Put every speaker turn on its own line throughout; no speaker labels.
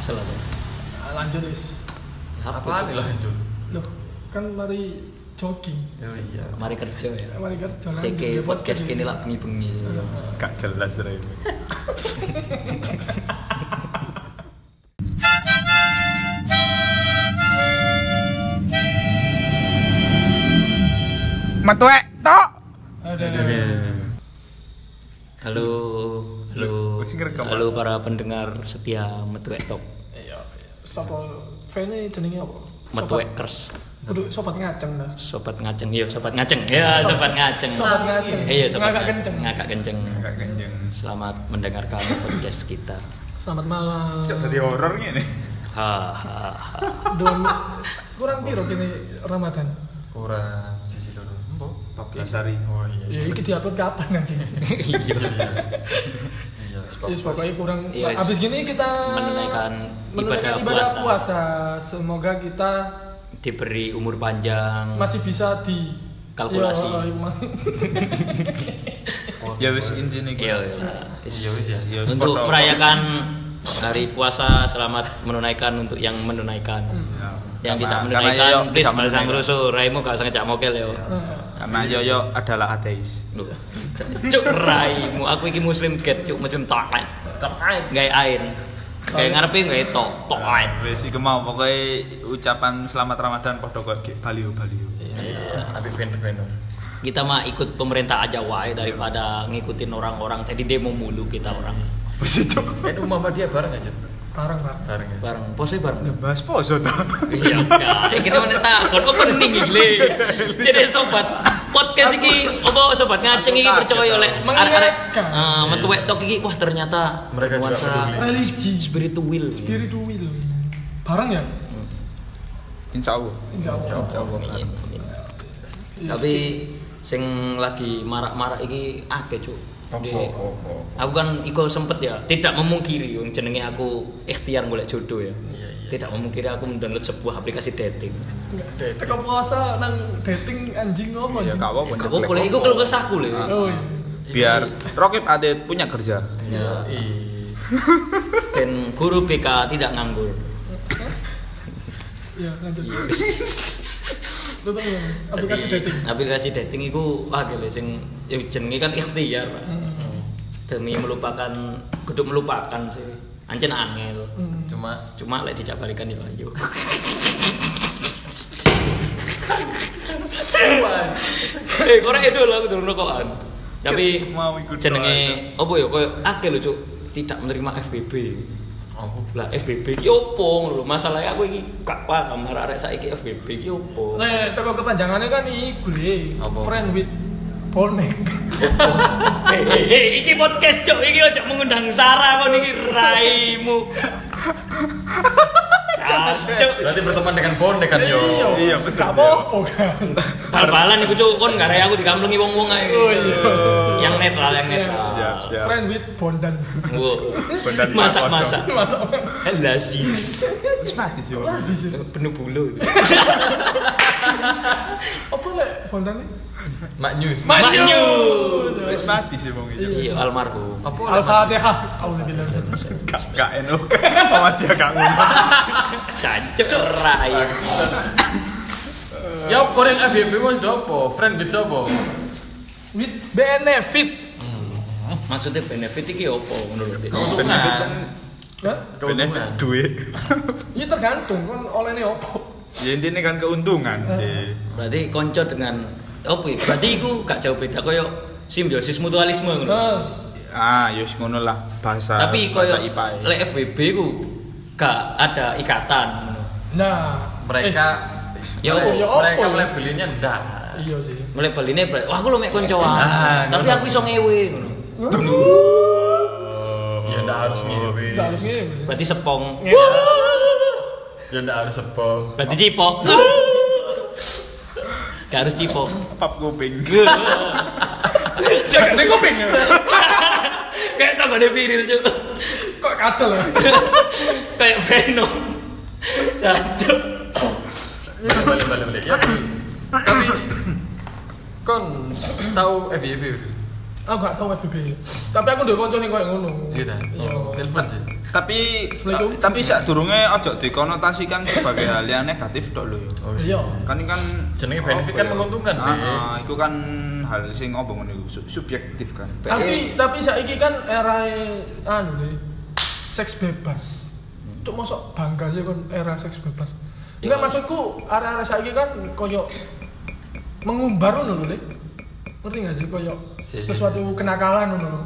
Kesel aku.
Eh, lanjut is
Apa
Apa nih
tuh?
lanjut?
loh kan mari jogging
Oh iya.
Mari kerja ya.
mari kerja lanjut
TK
ya,
podcast kini lah bengi-bengi.
Gak jelas Ray.
Matuek tok.
Ada, ada.
Oke.
Halo, halo,
Wih, sing ngerekam.
halo para pendengar setia Metuek Talk,
iya sapa fan-nya jenenge apa Sobat-
Metuekers,
Kudu sobat ngaceng dah
sobat ngaceng, iya sobat ngaceng, ya sobat ngaceng,
Sobat ngaceng.
iya sobat
Ngakak
ngaceng,
kenceng.
ngakak kenceng.
Gak kenceng.
Selamat mendengarkan podcast kita.
selamat malam
Cok tadi horor ngene.
Hahaha.
Dua mi- kurang piro kini Ramadan
Kurang sisi dulu. Embo.
14 hari.
Oh iya.
ya iki diupload kapan anjing
Iya.
Iya.
Ya
sebab-
pokoknya kurang
Yes.
habis gini kita
Menunaikan ibadah
menunaikan ibadah
puasa.
puasa. Semoga kita
Diberi umur panjang.
masih bisa
Hmm.
di
Kalkulasi.
Ya, emang.
Oh,
Ya wis intine
Iya,
kuwi.
iya.
Iya wis ya.
Ya,
Untuk
foto.
merayakan hari puasa, selamat menunaikan untuk yang menunaikan.
Ya.
Yang tidak
Karena- karena
iya,
menunaikan,
Yoyo
please
tidak
balasan
menunaikan.
rusuh. Raimu gak usah ngejak mokel yo.
iya. Nah,
Karena Yoyo adalah ateis.
Duh, Cuk raimu, aku iki muslim get, cuk muslim taat. Taat gawe ain. Kayak ngarepe gawe tok, taat.
Wis iki mau pokoke ucapan selamat Ramadan padha kok ge balio balio.
Iya. Habis gendong-gendong.
Kita mah ikut pemerintah aja wae daripada ngikutin orang-orang. Jadi demo mulu kita orang.
Wis cok.
Eh rumah dia bareng aja.
Parang lah.
Bareng ya.
Bareng, pose bareng.
Bahas poso ta.
Iya, ya, kita mana takon opening iki. Le. Jadi sobat podcast iki apa sobat ngaceng iki percaya oleh arek-arek
Mengingatkan.
eh, metuwek tok iki wah ternyata
Iya. Mereka juga peduli.
Religi
spiritual.
spiritual. Barang ya?
Insyaallah.
Insya Allah. Iya.
Iya,
Insyaallah.
Tapi sing lagi marak-marak iki akeh cuk. Di-
Opo.
Aku kan iko sempet ya, tidak memungkiri yang jenenge aku ikhtiar golek jodoh ya.
Iya, iya.
Tidak memungkiri aku mendownload sebuah aplikasi dating.
Eh, Teko puasa nang dating anjing ngomong.
Ya
anjing.
gak apa-apa.
Gak
nyeklek.
apa-apa, iku kalau kesahku lho.
Oh, iya.
Biar Rokib Atit punya kerja.
Iya.
Ben guru BK tidak nganggur.
Iya, lanjut. Itu tuh, aplikasi
Jadi,
dating.
aplikasi dating itu wah gile sing ya jenenge kan ikhtiar Pak. demi melupakan kudu melupakan sih ancen angel
Hmm.
Cuma
cuma lek dijak balikan ya ayo eh korek itu lah aku durung rokokan tapi
Mau ikut
jenenge opo ya koyo akeh lho cuk tidak menerima FBB
aku
lah FBB ki opo ngono lho masalahnya aku iki gak paham arek-arek saiki FBB ki opo
Nah, teko kepanjangannya kan iku le.
Apa?
Friend with bonek.
Eh, eh, eh, iki podcast cok, iki ojo mengundang Sarah kon iki raimu. Cok,
berarti berteman dengan bonek kan yo.
Iya, betul.
Gak apa-apa kan.
bal-balan iku cok, kon gak raya aku dikamplungi wong-wong ae.
Oh, iya.
Yang netral, yang netral.
Iya. Siap.
Friend with bondan.
Wow.
Bondan
Masak-masak.
Masuk.
Lah sis.
Wis mati sih.
Penuh bulu.
Apa lek bondan ini?
Mak news.
Manyu.
Wis mati sih wong iki.
Iya, almarhum.
Apa
Al-Fatihah. Auzubillah.
Gak gak eno. Sama dia gak ngono.
Cancuk rai.
Ya koreng FBB wis dopo, friend gitu apa?
With benefit.
Oh, Maksudnya benefit iki opo ngono lho.
Oh,
Dik?
Keuntungan.
Hah?
Keuntungan.
Benefit duit.
Ya tergantung kan olehnya opo.
Ya intine kan keuntungan sih.
Berarti konco dengan opo? ya? Berarti iku gak jauh beda koyo simbiosis mutualisme ngono.
Nah,
Ah, yus ngono lah bahasa
tapi koyo
bahasa IPA. ya.
lek FBB ku gak ada ikatan
nah.
Mereka
Ya apa,
mereka-
ya apa,
mereka
ya?
melabelinnya ndak.
Eh, Iya sih.
melebel ini berarti wah aku lo mek koncoan
Ah,
tapi
ngono.
aku iso ngewe ngono
Ya ndak harus ngewe.
Gak harus ngene.
berarti sepong
Ya ndak harus sebong.
berarti cipok gak harus cipok
Pap kuping.
Iya,
Jangan ning kuping. ya.
kayak tambahnya viril cuy
Kok kadal. ya?
kayak Venom Cacuk
Balik balik balik. Ya tapi tapi kon tahu FBB?
Aku gak tau FBB. Tapi aku ndek kanca sing koyo ngono.
Gitu.
Iya. Oh.
Telepon sih.
Tapi
Assalamualaikum.
tapi sak durunge ojo dikonotasikan sebagai hal yang negatif tok lho. ya.
Oh,
Iya.
Kan ini kan
Jenenge
apa
benefit kan
ya?
menguntungkan,
Ah,
Dik.
ah, itu kan hal sing obong niku su- subjektif kan.
Tapi tapi saiki kan era anu nih, seks bebas. Cuk mosok bangga aja kan era seks bebas. Enggak maksudku area-area saiki kan koyo mengumbar ngono lho, Le. Ngerti gak sih koyo
Si- si.
sesuatu kenakalan ngono lho.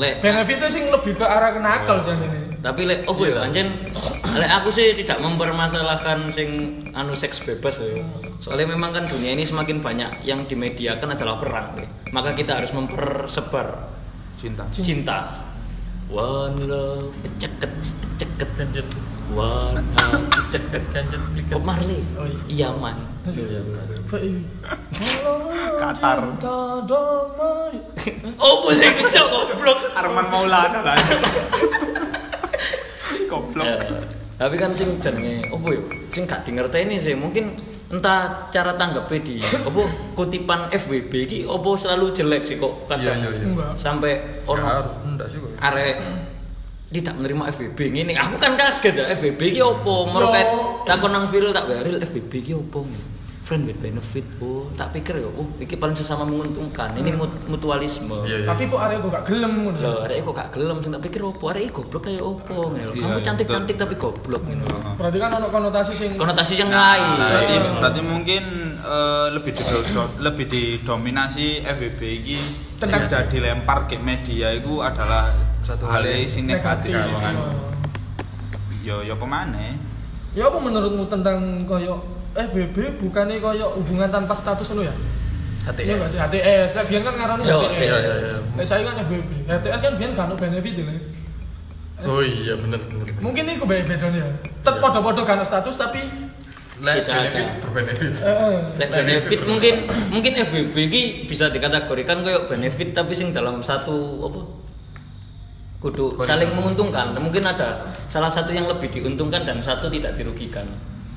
Lek,
Benefitnya sih lebih ke arah kenakal sih ini.
tapi lek opo ya anjen lek aku sih tidak mempermasalahkan sing anu seks bebas ya. Soalnya memang kan dunia ini semakin banyak yang dimediakan adalah perang. ya. Maka kita harus mempersebar
Cinta.
cinta. One love, ceket, ceket,
Kanjen,
one love, ceket.
kanjen,
Bob Marley,
Oh,
iya man.
Qatar.
Opo sih kecok goblok.
Arman Maulana lah.
Ya,
Goblok.
Eh, tapi kan sing jenenge opo yo sing gak dingerteni sih mungkin entah cara tanggape di opo kutipan FWB iki opo selalu jelek sih kok kadang
Iya, iya, iya.
Enggak.
sampai
Nggak
orang
harus, enggak sih, Boy.
arek tidak menerima FBB ngene aku kan kaget ya FBB iki opo mereka
Yo.
takon nang viral tak viral FBB iki opo friend with benefit oh tak pikir yo oh iki paling sesama menguntungkan ini mut- mutualisme
Iya, iya.
Tapi kok area gue gak gelem ngono.
Loh, arek kok gak gelem sing tak pikir opo, arek iki goblok kaya opo ngene. lho.
Iya,
Kamu
iya,
cantik-cantik tapi goblok ngene. lho.
Berarti kan ono konotasi sing
Konotasi yang lain.
Nah, berarti,
Iya.
berarti mungkin eh, lebih dido- lebih didominasi FBB ini
Tenang.
sudah dilempar ke media itu adalah
Satu hal
hal
yang
yang
negatif.
negatif.
kan.
Yo yo pemane.
Ya apa menurutmu tentang koyo FBB bukannya koyo hubungan tanpa status itu ya?
HTS.
Iya nggak sih HTS. Lah biyen kan ngarani
Yo,
HTS.
iya,
iya, iya.
Lah saya kan FBB. HTS kan biyen kan benefit lho.
Oh iya bener bener.
Mungkin ini beda bedanya. ya. Tet
Iya.
podo-podo kan status tapi
Tidak
Lek benefit
ada.
berbenefit.
eh,
Lek benefit mungkin mungkin FBB iki bisa dikategorikan koyo benefit tapi sing dalam satu apa? Kudu
Koridor.
saling menguntungkan. Mungkin ada salah satu yang lebih diuntungkan dan satu tidak dirugikan.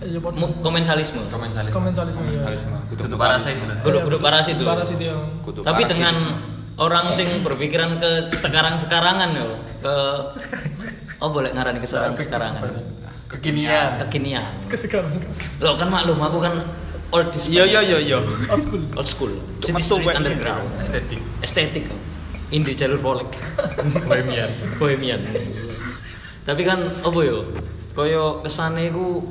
eh, ya podo.
Mu- Komensalisme.
Komensalisme.
Komensalisme. ya.
Kalisma, kutu
Tutup parasite lah.
Grup-grup parasit itu.
Parasit ya.
Kutu
Tapi
parasit.
dengan orang sing berpikiran ke sekarang-sekarangan yo, ke Oh boleh ngarani ke sekarang-sekarangan.
Kekinian.
Kekinian.
Ke sekarang.
Lo kan maklum aku kan old school.
Iya,
Yo yo yo yo.
Old school.
Old school.
Cuma
City Street
sobek.
underground.
Estetik.
Estetik. kok. Indie jalur volek.
Bohemian.
Bohemian. Tapi kan apa yo? Koyo kesane iku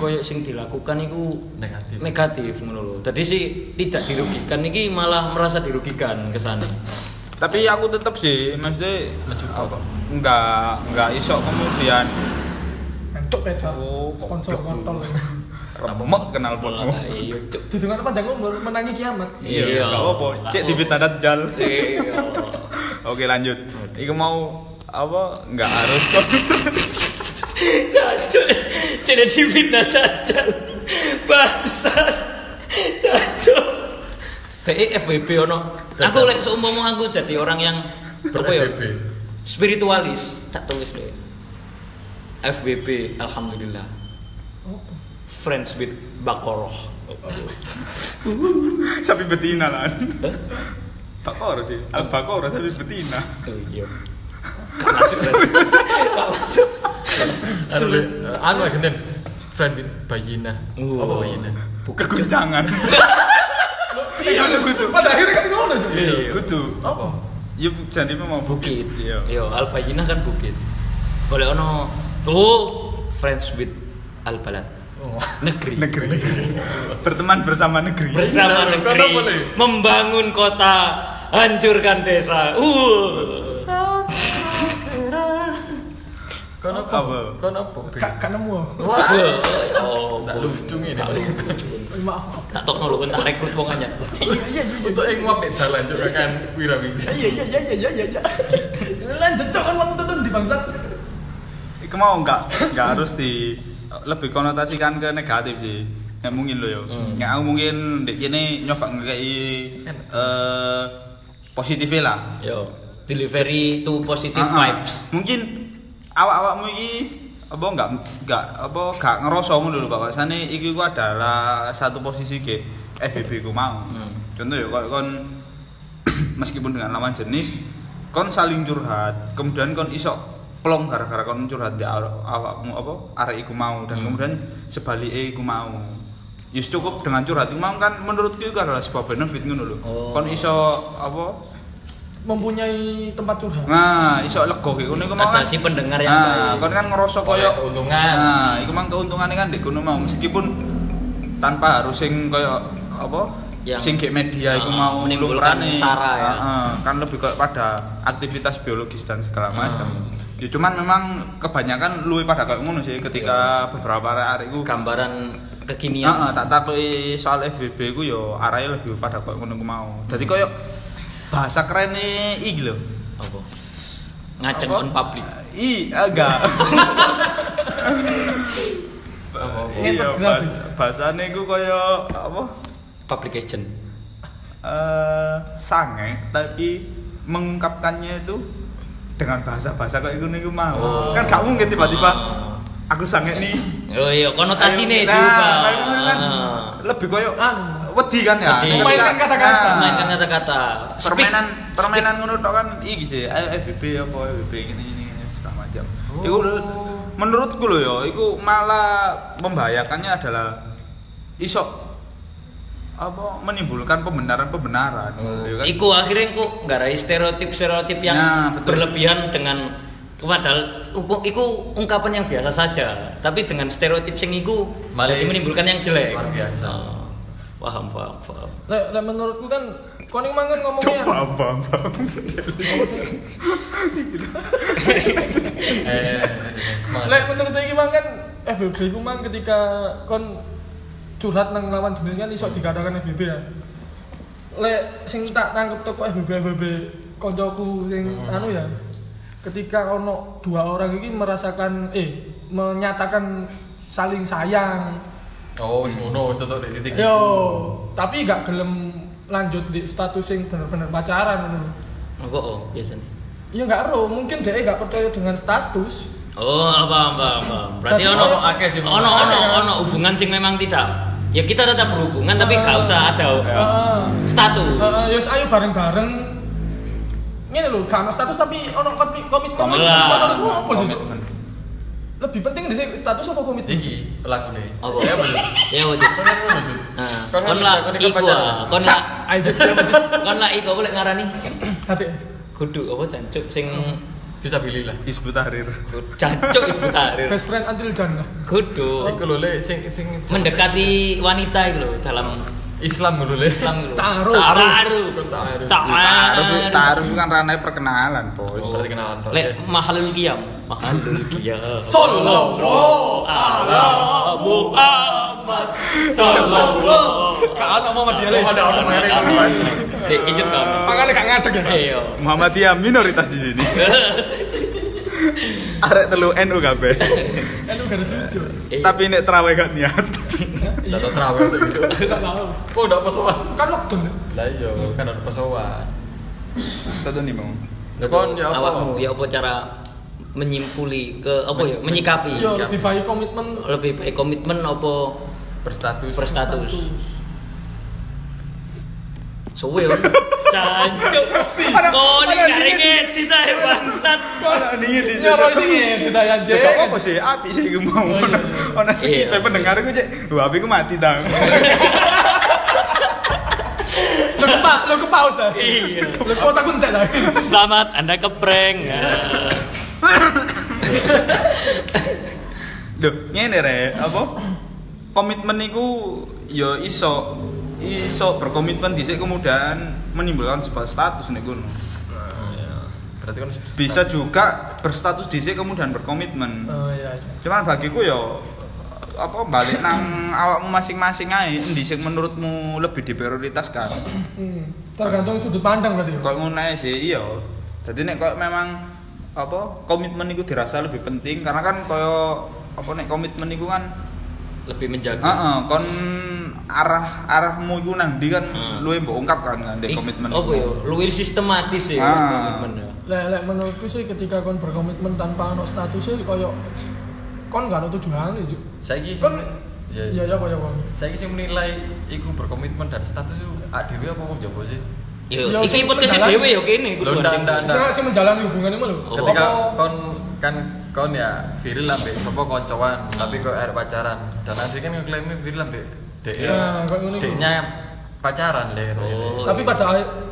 koyo sing dilakukan iku
Negatif.
negatif ngono lho. Dadi sih tidak dirugikan iki malah merasa dirugikan kesane.
Tapi aku tetap sih maksudnya
Mencukup.
enggak enggak iso kemudian
Kantuk beda.
Oh,
Sponsor kontol.
goblok. remek kenal
Malah
potmu.
iya cuk.
Dudungan panjang umur menangi kiamat.
Iya.
Enggak apa-apa. Cek di fitnah dajjal.
Iya.
Oke lanjut. Iku mau apa enggak harus kok.
Cacul. Jadi dipindah cacul. Bangsat. Cacul. Kayak FWB ono. Aku lek seumpama aku jadi orang yang apa ya?
FBB.
Spiritualis. Tak tulis deh. FWB alhamdulillah. Friends with Bakoroh.
sapi betina lan. Bakor sih. Al bakor sapi betina.
Oh iya. Gak masuk. berarti. Gak masuk.
Anu lek eh, anu ya genden. Friend with Bayina.
Wow.
Apa Bayina?
Oh. Bukan.
Keguncangan.
Iya, pada akhirnya kan ngono juga.
Kudu.
Apa?
Ya jadi memang
bukit.
Iya.
Yo, Albayina kan bukit. Boleh ono oh friends with Albalat.
Oh.
Negeri.
Negeri. Berteman bersama negeri.
Bersama
Benar,
negeri
kota boleh.
membangun kota, hancurkan desa. Uh.
Kon apa?
Apa?
Kon apa? Bi?
Kak kan nemu.
Wah.
Oh,
Tak lucu ini.
Eh, Maaf, maaf.
tak tok nol tak rekrut wong aja.
Untuk yang ngapet jalan juga kan wirawi.
Iya iya iya iya iya iya. Lanjut cok kan waktu itu di bangsat.
Iku mau enggak enggak harus di lebih konotasikan ke negatif sih. Ya mungkin lo yo.
Hmm.
Ya aku mungkin di sini nyoba ngekei
Enak.
eh positifnya lah.
Yo, delivery to positive
Ah, ah.
vibes.
Mungkin awak-awakmu iki apa enggak enggak apa enggak ngerasa ngono lho Pak. Sane iki ku adalah satu posisi ke FBB ku mau.
Hmm.
Contoh ya kalau kon meskipun dengan lawan jenis kon saling curhat kemudian kon iso plong gara-gara kon curhat di aw- awakmu apa arek iku
Hmm.
mau dan kemudian sebaliknya iku mau Yus cukup dengan curhat iku mau kan menurutku itu adalah sebuah benefit ngono lho.
Oh.
Kon iso apa
mempunyai tempat curhat
Nah, iso lego iki. Ngono iku mau
Ada
kan.
si pendengar yang
Nah,
baik.
kon kan ngerasa koyo
Oleh keuntungan.
Nah, iku mang keuntungane kan ndek kono mau meskipun tanpa harus sing koyo apa?
Yang-
sing gek media iku
Ah,
mau
menimbulkan
lumrane.
sara ya.
Ah, ah, kan lebih koyo pada aktivitas biologis dan segala macam. Ya cuman memang kebanyakan luwe pada kayak ngono sih ketika
Iya.
beberapa arek iku Ah,
gambaran kekinian
Heeh, tak takoki soal FBB ku yo arahe ya, lebih pada koyo ngono ku mau. Dadi koyo bahasa keren iki lho.
apa ngajeng
Apa?
on public
I agak.
Ngetop
iya,
gratis.
bahas, bahasane ku koyo apa?
public agent
Eh sange tapi mengungkapkannya itu dengan bahasa-bahasa kayak gini ku mau. Kan gak mungkin tiba-tiba
Ah.
aku sange nih.
oh iya konotasi nih
Nah,
diubah
kayak gini kan
Ah.
lebih koyo
Ah.
wedi kan ya.
Wedi.
Ini kan-
Memainkan kata-kata.
Ah.
mainkan kata-kata Speak.
permainan
Speak.
permainan ngono tok kan iki sih ayo FBB apa FBB gini gini gini segala macam
Oh.
iku l- menurutku loh ya iku malah membahayakannya adalah iso apa menimbulkan pembenaran-pembenaran
Oh.
ya kan?
Iku akhirnya aku nggak ada stereotip-stereotip yang
Nah, betul.
berlebihan dengan padahal iku, iku ungkapan yang biasa saja, tapi dengan stereotip sing iku
Malah
jadi menimbulkan yang jelek.
luar biasa.
Oh, Paham, paham, paham.
Lek lek menurutku kan koning mangan
coba
ngomongnya
apa apa
Eh, eh, eh, semangat.
lek menurut iki kan, mangan FBB ku mang ketika kon curhat nang lawan jenis kan iso dikatakan FBB ya lek sing tak tangkep teko FBB FBB koncoku sing anu ya ketika ono dua orang ini merasakan eh menyatakan saling sayang
Oh, wis ngono, wis tutuk di titik.
yo tapi gak gelem lanjut di status sing bener-bener pacaran ngono.
Apa oh, biasanya?
Ya nggak ero, mungkin dia nggak percaya dengan status.
Oh, paham, paham, paham. Berarti
Tapi
ono
kalau-
akeh sih,
ono ono
akeh.
ono hubungan sing memang tidak. Ya kita tetap berhubungan tapi
Ah.
gak usah ada
Ya.
Heeh. Heeh,
status.
ya ayo bareng-bareng. Ngene lho, gak ono status tapi ono komi- komitmen.
Komitmen.
Menurutmu apa sih? Cuk? Lebih penting di sini status apa komitmen?
Iki pelakune.
Apa?
Ya bener.
Ya wajib.
Kon kan ngono, Jud.
Nah,
Kon
kon
kan-
lah
kon kan
iku
pacaran.
ah, kon lah
Ayo Cuk, ayo, Cuk.
kon lah iku boleh ngarani
Hati.
kudu apa jancuk sing
Bisa pilih lah.
Hizbut Tahrir
jancuk is betarir.
Best friend until done lah.
Kudu
Iku lho le sing sing
mendekati wanita itu loh dalam
Islam dulu le.
Islam itu.
Ta'aruf.
Ta'aruf.
Ah.
Ta'aruf.
taruh
Ta'aruf.
taruh kan ranai perkenalan bos
Oh.
Berarti kenalan. Pak.
Lek mahalul qiyam, mahalul qiyam. Ah.
Sallallahu
ala Muhammad sallallahu
Gak ono Muhammad dia. Eh,
Oh, ada orang merek.
Dek kecut kan.
Makanya gak ngadeg ya.
Iya.
Muhammadiyah minoritas di sini arek telu NU kabeh
Eh lu garis lucu.
Iya.
tapi nek terawih gak niat
Lah tau trawe gitu.
Gak tahu.
Kok ndak pesowan?
Kan lockdown ya.
Lah iya, kan ada pesowan.
tentu nih bang
Ya kon ya apa?
awakmu ya apa cara menyimpuli ke apa ya menyikapi
Ya lebih baik komitmen
lebih baik komitmen apa
Berstatus.
Iya,
berstatus suwe yo jancuk koni karinget kita eh, bangsat
Kalau
Iya,
dingin di
Nyoro sih Oh, kita ya
Ya
Jek.
gak apa-apa sih, api sih gue mau Ono ono sih,
Iya.
saya pendengar gue cek Wah api gue mati dang
Lu ke pa- lu ke paus dah.
Iya.
Lu ke otak kuntet dah.
selamat anda Ya. keprank
Duh, ngene re, apa? Komitmen niku ya iso iso berkomitmen dhisik kemudian menimbulkan sebuah status nih gue
Berarti kan harus
Bisa juga berstatus dhisik kemudian berkomitmen
Oh iya. iya.
Cuman bagiku ya apa balik nang awakmu masing-masing aja endi sing menurutmu lebih diprioritaskan
Hmm. Tergantung sudut pandang berarti. ya?
Kok ngono ae sih iya. Jadi nek kok memang apa komitmen itu dirasa lebih penting karena kan koyo apa nek komitmen itu kan
lebih
heeh
menjaga
kon arah arahmu iku nang ndi kan
Hmm.
lu mbok ungkapkan kan nek
Ih,
komitmen.
apa
iku.
ya luwih sistematis ya
Ah.
komitmen ya.
Lek lek menurutku sih ketika kon berkomitmen tanpa ono status sih koyo kon gak ono tujuan ya, Juk.
Saiki sing
Kon
Ya,
iya ya
ya.
koyo kon.
Saiki sing menilai iku berkomitmen dan status itu awake dhewe apa wong jaba sih?
Yo,
Ya,
iki
sing
podcast
pendalan.
dhewe yo kene kudu
Loh, ndak, ndak, ndak.
Sing sing menjalani hubungan ini lho.
Oh.
ketika
Apa-
kon kan kon ya viril ambek sapa koncoan tapi kok air pacaran dan asli kan ngeklaimnya viril ambek dek
Ya, kok ngono iku.
deknya pacaran le
Oh.
Tapi pada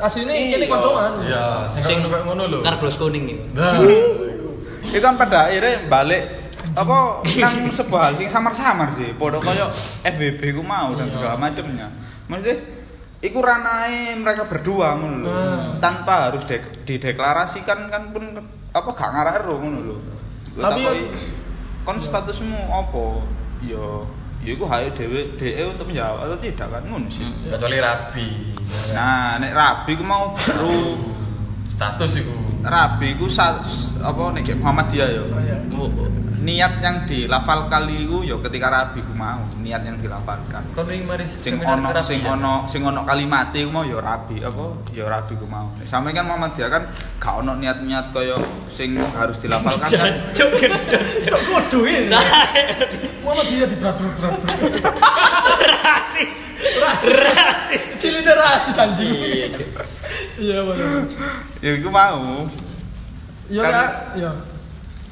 aslinya ini
Iya.
koncoan.
ya sing
Sing-
kok ngono lho
Karblos kuning ya. iki.
nah
Iku kan pada akhirnya balik apa nang sebuah hal sing samar-samar sih. Podo koyo FBB ku mau dan segala macamnya. Maksudnya iku ranai mereka berdua ngono lho.
Hmm.
Tanpa harus dek- dideklarasikan kan pun apa gak ngarah ero ngono lho. Gue
Tapi
takoi,
ya-
kon statusmu apa? Ya ya iku hae dhewe DE untuk menjawab atau tidak kan ngono sih.
Hmm.
kecuali rabi
Nah, nek rabi ku mau baru
status iku
rabi ku sa- apa nek kayak Muhammadiyah ya.
Oh, iya.
Oh, oh.
niat yang dilafalkan iku ya ketika rabi ku mau niat yang dilafalkan
kon ning mari
sing
seminar
ono
terapi
sing
ya?
ono sing ono kalimat iku mau ya rabi apa ya rabi ku mau Nek sampe kan Muhammadiyah kan gak ono niat-niat kaya sing harus dilafalkan kan
Jancuk gendut.
Cok kudu ini.
Nah,
Mana dia di berat berat berat.
Rasis. Rasis.
Cilindra rasis anjing. Iya benar.
ya iku mau
Iya
Kan-
kan? Iya.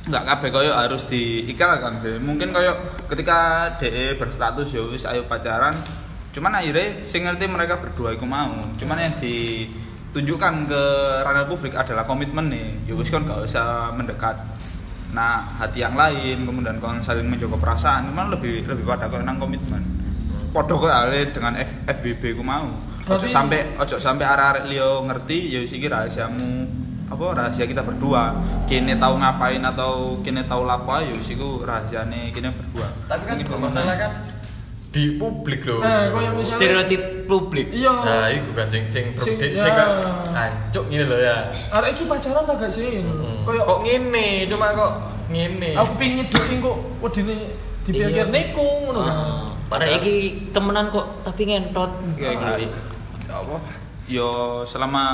nggak kabeh kaya harus diikrarkan sih mungkin kaya ketika DE berstatus ya wis ayo pacaran cuman akhirnya sing ngerti mereka berdua iku mau cuman yang ditunjukkan ke ranah publik adalah komitmen nih ya wis kan gak usah mendekat nah hati yang lain kemudian kon saling menjaga perasaan cuman lebih lebih pada kau nang komitmen podo kok ale e dengan F, FBB ku mau
Tapi-
ojo sampai ojo sampai arah Leo ngerti ya wis iki rahasiamu apa rahasia kita berdua kene tahu ngapain atau kene tahu lapo ayo siku rahasiane kene berdua
tapi kan masalah kan di publik lho
Eh, koyo misalnya.
Stereotip publik.
Iya.
nah iku kan sing sing
Sing-
sing
ya.
sing kok ancuk ngene lho ya
Arek iki pacaran tak gak sih?
Mm.
Koyo
kok ngene cuma kok ngene
aku pingin duit kok wedine dipikir
Iya.
niku ngono kan.
Ah, Padahal iki temenan kok tapi ngentot.
ya iki apa yo selama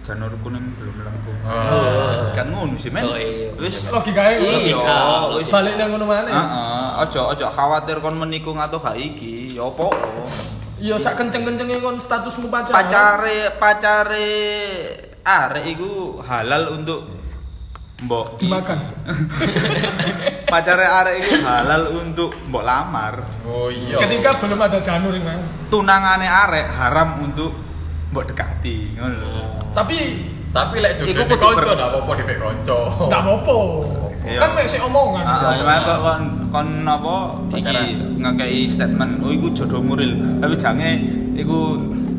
janur kuning belum melengkung
Ah.
kan ngono sih men
Oh, iya.
e,
wis
Logikae ngono.
iya
Logika.
wis
Balik nang ngono maneh.
Heeh, ojo ojo khawatir kon menikung atau gak iki ya opo
Iya sak kenceng-kencenge kon statusmu pacaran.
pacare pacare arek iku halal untuk mbok
dimakan.
pacare arek iku halal untuk mbok lamar
oh iya
Ketika belum ada janur ini. Mang.
tunangane arek haram untuk mbok dekati ngono lho.
Oh. Tapi
tapi lek
Iku
jodoh
kudu
di konco
ber-
ndak apa-apa di konco
Enggak apa-apa.
Iya.
Kan mek sik omongan.
Ah,
misalnya.
makanya kok kon kon apa iki
Pacaran.
ngakei statement oh iku jodoh muril tapi jange iku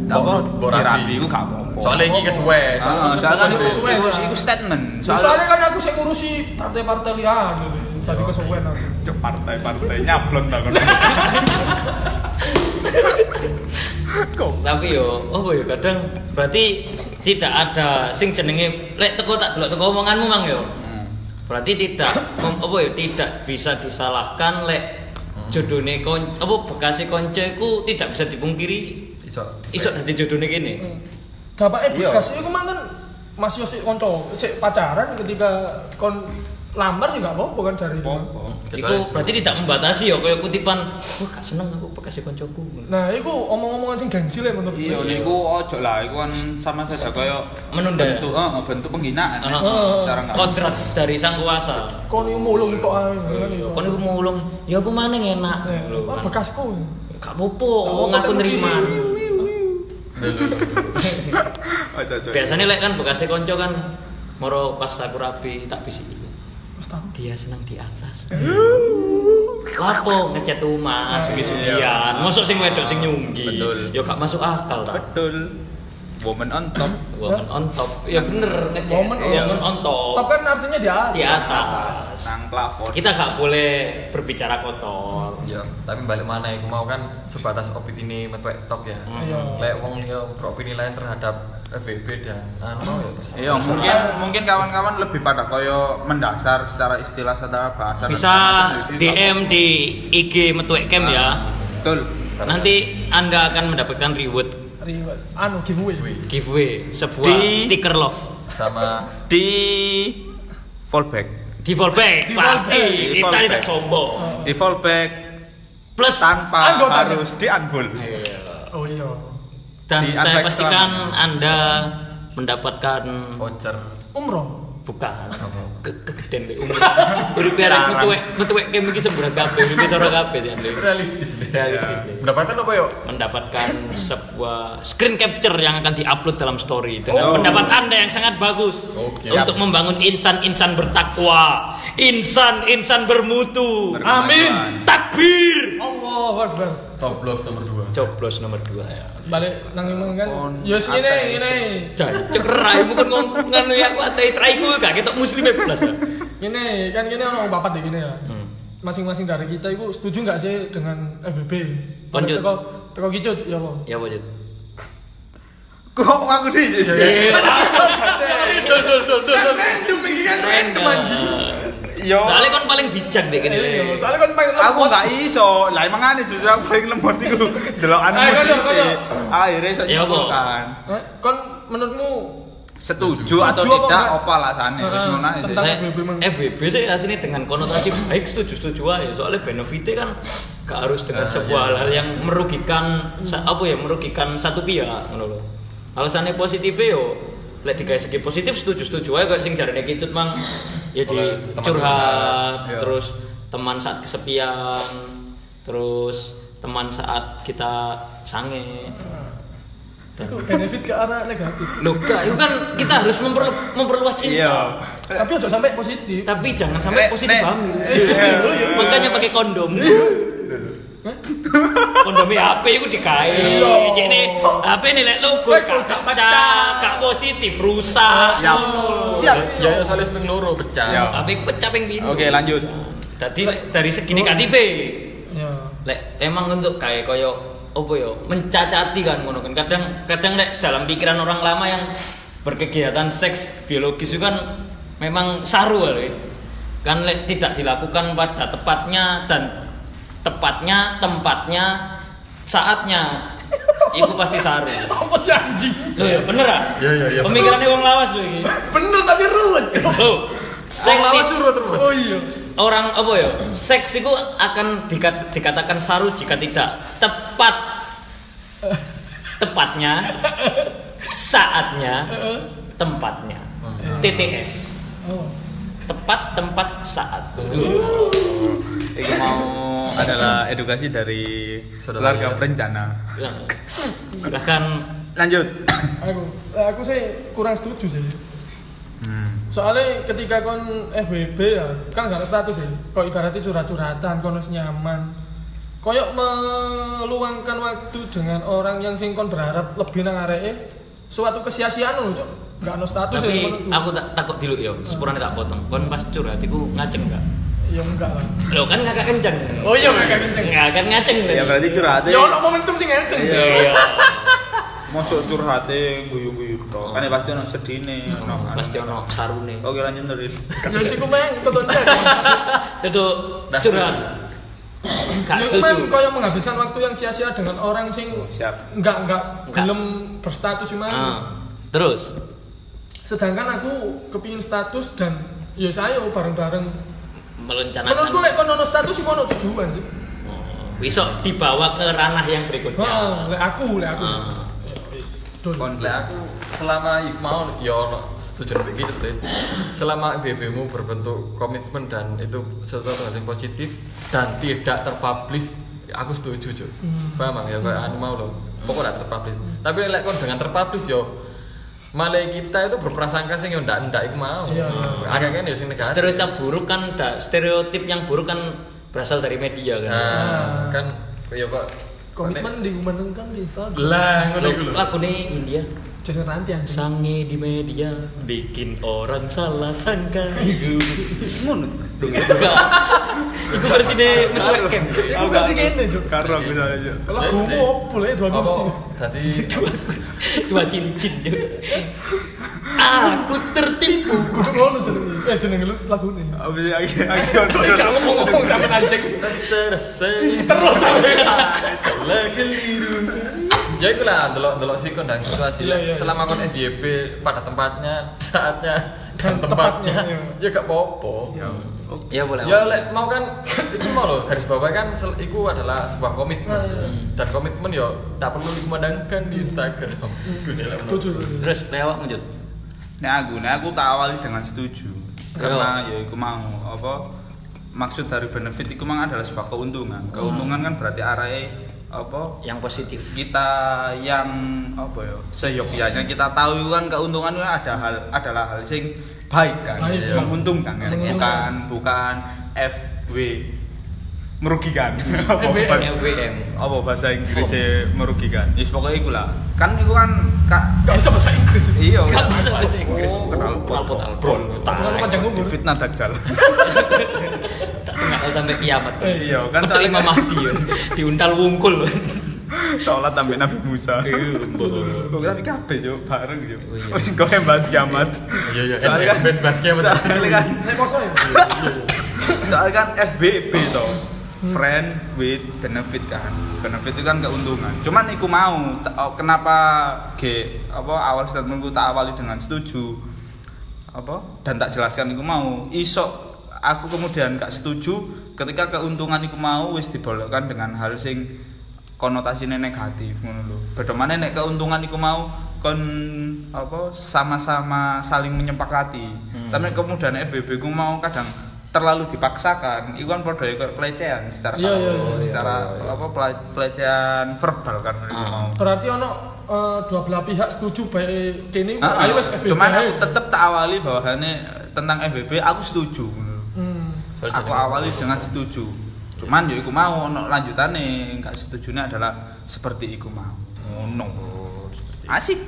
apa
mbok rapi.
dirapi iku gak apa-apa.
soalnya iki kesuwe
Ah, soalnya kan iku
kesuwe.
iku iku statement.
Soalnya kan aku sing ngurusi partai-partai lian. ini. Tadi kesuwen aku.
Cuk, partai-partai nyablon ta kon.
Tapi yo, oh yo kadang berarti tidak ada sing jenenge lek teko tak delok teko omonganmu mang yo. Berarti tidak mem, apa ya tidak bisa disalahkan lek jodone kon apa bekase kanca iku tidak bisa dipungkiri
iso
iso dadi jodone kene.
Eh, Dapake
Iya.
bekas iku mantan Mas Yosi konco sik pacaran ketika kon lamar juga apa-apa kan dari.
Apa-apa.
Iku berarti tidak membatasi yo kaya kutipan wah gak seneng aku bekase kancaku.
Nah, iku omong-omongan sing ganjil ya menurut
Iya,
gue.
niku ojo lah, iku kan sama saja kaya
Menunda. ya? Oh,
bentuk, eh, bentuk penghinaan. ya.
Heeh.
Secara nggak-
Kodrat dari sang kuasa.
Kon iku mulung tok ae. kan, iso.
Kon iku mau ulung, ya apa maning enak.
Eh,
Lho,
wah,
kan.
bekasku.
Gak apa-apa, wong aku nerima.
Ojo, ojo.
biasanya lek kan bekasnya konco kan moro pas aku rapi tak bisik
Wis tahu.
dia senang di atas Hmm. lapo ngecat rumah sugi-sugian mosok sing wedok sing nyunggi
Betul.
yo gak masuk akal ta
Betul. Woman on top.
woman on top ya bener ngecat
Woman on-
woman on top
Top kan artinya dia.
di atas
Nang plafon.
kita gak boleh berbicara kotor
iya tapi balik mana iku mau kan sebatas opini metu tok ya
Iya.
lek wong liya beropini lain terhadap FVB dan anu ya terserah
Iya, mungkin mungkin kawan-kawan lebih pada koyo mendasar secara istilah secara bahasa.
bisa DM di IG Metuek Camp ya
Betul.
nanti anda akan mendapatkan reward
Reward. Anu giveaway.
giveaway sebuah
Di-
stiker love
sama
Di fallback.
Di fallback
Di
pasti
fallback.
Di Oh.
kita
fallback.
tidak sombong.
Di fallback
Plus
tanpa
Anggota.
harus di unfold.
Oh iya.
dan
Di
saya
Advex
pastikan
Selama.
anda mendapatkan
voucher
umroh
bukan ke kegeden deh umur urip arek metuwe metuwe kayak mungkin semburat kabeh urip sora kabeh ya Dek.
realistis deh
realistis
Ya.
Dek.
pendapatan apa yuk
mendapatkan sebuah screen capture yang akan diupload dalam story dengan
Oh.
pendapat anda yang sangat bagus
Oke.
untuk membangun insan-insan bertakwa insan-insan bermutu
Berkemajuan.
amin takbir
Allah Akbar
top loss nomor 2
coblos nomor 2 ya
balik nang ngomong kan
On
yo sing ngene
ateis.
ngene
cek raimu kan ngomong nganu ya aku ateis raiku gak ketok muslim ya belas ya Hmm.
ngene kan ngene ono bapak deh ngene ya masing-masing dari kita itu setuju nggak sih dengan FBB
Konjut.
teko teko kicut ya Allah
ya wajib
Kok aku di
Iya,
random iki kan random anjing
Yo.
Soalnya kan paling bijak deh kan.
Iya, soalnya kan pengen
Aku gak iso. Lah emang aneh justru aku paling lemot iku. Delokan
Ayo,
mood
kono,
isi.
kono.
Akhirnya iso
Ya, apa?
nyusul kan.
Eh, kon menurutmu
Setuju atau
Setuju apa
tidak
enggak?
apa alasannya wis
Heeh,
ngono ae sih. Iya.
tentang-
Nah,
FBB mah.
FBB sih aslinya dengan konotasi baik setuju setuju aja soalnya benefitnya kan gak harus dengan
Ah,
sebuah hal yang merugikan sa- apa ya merugikan satu pihak ngono loh alasannya positif ya, yo lek digawe segi positif setuju setuju aja kayak sing jarane kicut mang ya di
Oleh teman
curhat
curhat, iya.
terus teman saat kesepian terus teman saat kita sange
itu benefit ke arah negatif
Loh, gak, itu kan kita harus memperlu memperluas cinta.
Iya.
tapi ojo sampai positif
Tapi jangan sampai
Nek,
positif
Eh, nek.
hamil.
Iya.
Makanya pakai kondom. Kondomnya HP itu dikae.
Iya.
Ini HP ini lek lugu
Lek
gak
gak
pecah,
pecah.
gak positif, rusak.
Siap. Siap.
ya ya salis ping loro pecah
Ya.
HP ku pecah ping pindho.
Oke, lanjut.
Jadi lek dari segi negatif
ya
lek emang untuk kayak koyo opo yo mencacati kan ngono kan kadang kadang lek dalam pikiran orang lama yang berkegiatan seks biologis itu kan memang saru lho ya. kan lek tidak dilakukan pada tepatnya dan tepatnya tempatnya saatnya itu pasti saru
apa sih anjing
lo ya bener ah
Iya, iya, iya.
pemikirannya wong lawas lho iki
bener tapi ruwet
lo seks
lawas
itu-
suruh terus
oh iya
orang apa ya seks itu akan dika- dikatakan saru jika tidak tepat tepatnya saatnya tempatnya TTS
oh
tepat tempat saat
Iku mau adalah edukasi dari
Saudara
keluarga
ya.
perencana.
silahkan
Lanjut.
aku aku sih kurang setuju sih
Hmm.
soalnya ketika kon FWB ya kan gak ada status ya kok ibaratnya curhat-curhatan kon harus nyaman koyok meluangkan waktu dengan orang yang sing kon berharap lebih nang areke suatu kesia-siaan loh cok gak ada status ya
tapi
menurutku.
aku tak takut dulu ya sepurane tak potong kon pas curhat iku ngaceng gak
ya enggak lah
lo kan kakak kenceng
Oh iya, kakak kenceng.
nggak akan ngaceng
Ya
tadi.
berarti curhatnya
ya ono momentum sing ngeceng
Iya.
Iya.
masuk curhatnya guyu-guyu tok. Kan ya pasti ono sedine, ono anu.
pasti ono sarune
Oke, lanjut Nuril.
ya sih ku meng setonja
itu
Dah
curhat gak
ya ku meng
setuju
koyok menghabiskan waktu yang sia-sia dengan orang sing
Siap.
enggak enggak
Enggak.
gelem berstatus sih
Ah, terus
sedangkan aku kepingin status dan ya saya bareng-bareng
melencanakan
menurutku lek kon ono status iku ono tujuan sih
Oh, besok dibawa ke ranah yang berikutnya
heeh lek aku lek aku
Ah.
Ya, wis. Dol.
Lah aku selama yuk mau ya ono setuju nek iki Dut. Selama BB mu berbentuk komitmen dan itu sesuatu hal yang positif dan tidak terpublish, aku setuju, Cuk. Paham Bang? ya kayak anu mau loh. Pokoknya tidak terpublish. Tapi lek kon dengan terpublish yo malah kita itu berprasangka sing yo ndak ndak iku mau.
Iya,
Agak kan yo sing negatif.
stereotip buruk kan da- stereotip yang buruk kan berasal dari media kan
Nah, kan yo kok
komitmen diumandangkan bisa
lah ngono
Lo-
iku lho.
lagu nih India
jajan nanti anjing
sange di media bikin orang salah sangka
Ngono.
ya?
enggak itu versi deh
Nah,
mesuai camp
Aku kasih kene, Cuk.
Karo aku salah, Cuk.
kalau aku mau opo lek dua
Apa?
kursi
Tadi
dua cincin Yo. aku tertipu
kudu ngono jenenge eh jenenge lu lagune
Abis itu aku- aku- aku-
Cuk, jangan ngomong-ngomong sampe anjing
rese-rese
terus sampe
ya itu lah delok delok sih kon dan situasi
Iya, iya, iya.
selama kon FYP pada tempatnya saatnya
Dan
dan tempatnya
tepatnya, Iya.
ya gak apa-apa
Ya boleh.
Ya lek mau kan itu mau loh garis bawah kan sel- iku adalah sebuah komitmen.
Nah, iya.
Dan komitmen yo tak perlu dikumandangkan di Instagram. Iku sih, lek menurut-
Iya. Setuju. setuju.
Terus lewat lanjut.
Nek aku, nek nah, aku tak awali dengan setuju. Karena ya iku mau apa maksud dari benefit iku mang adalah sebuah keuntungan. Keuntungan kan berarti arahnya apa
Yang positif.
kita yang apa ya seyogyanya kita tahu kan keuntungan itu ada hal adalah hal sing baik kan
Baik,
iya.
menguntungkan kan?
Sing
bukan bukan FW merugikan apa
FWM.
bahasa-
FWM.
apa bahasa Inggrisnya merugikan ya pokoknya itu lah kan itu kan kak
Gak bisa bahasa Inggris.
iya
Gak
kan
bisa bahasa Inggris.
Oh, kenal
Kenal
pot.
pot Albron. Tak.
Terlalu panjang umur.
fitnah dajjal
Tak kenal sampai kiamat.
Eh,
iya kan
Kan Imam Mahdi ya. Diuntal wungkul.
sholat sampai Nabi Musa Kok tapi kabeh yo bareng yo wis kok yang bahas kiamat
Iya, iya.
soalnya kan
Ben bahas kiamat.
soalnya kan
Nek poso ya.
soalnya kan FBB to friend with benefit kan benefit itu kan keuntungan cuman iku mau ta- oh, kenapa G apa awal statementku tak awali dengan setuju apa dan tak jelaskan iku mau isok aku kemudian gak setuju ketika keuntungan iku mau wis dibolokkan dengan hal sing konotasinya negatif ngono lho bedomane nek keuntungan iku mau kon apa sama-sama saling menyepakati
Hmm.
tapi kemudian FBB ku mau kadang terlalu dipaksakan iku kan padha kayak pelecehan secara
Iya, iya,
kalau-
iya.
secara apa pele- pelecehan verbal kan iku
Ah.
mau
Berarti ono eh, dua belah pihak setuju baik kini
Ah, ah.
ayo wis FBB.
cuman aku tetep tak awali bahwasannya tentang FBB aku setuju ngono lho.
Hmm.
Soalnya
aku
jadi-
awali dengan setuju cuman ya iku mau ono lanjutane enggak setujunya adalah seperti iku mau ngono
Oh, seperti itu.
asik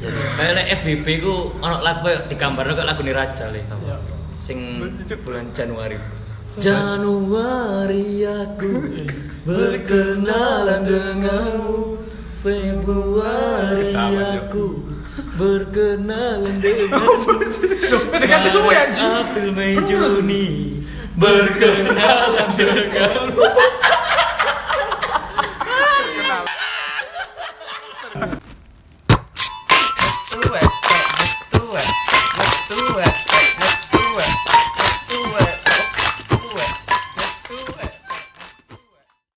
Kayak lek FBB ku ono lagu di gambar kok lagu Raja le.
Ya.
Sing bulan Januari.
Sumpah.
Januari aku berkenalan denganmu Februari
Ketawa, Jo.
aku berkenalan denganmu
Loh, PDKT semua ya, anjing.
April, Mei, Juni Berkenalan denganmu
Suwe.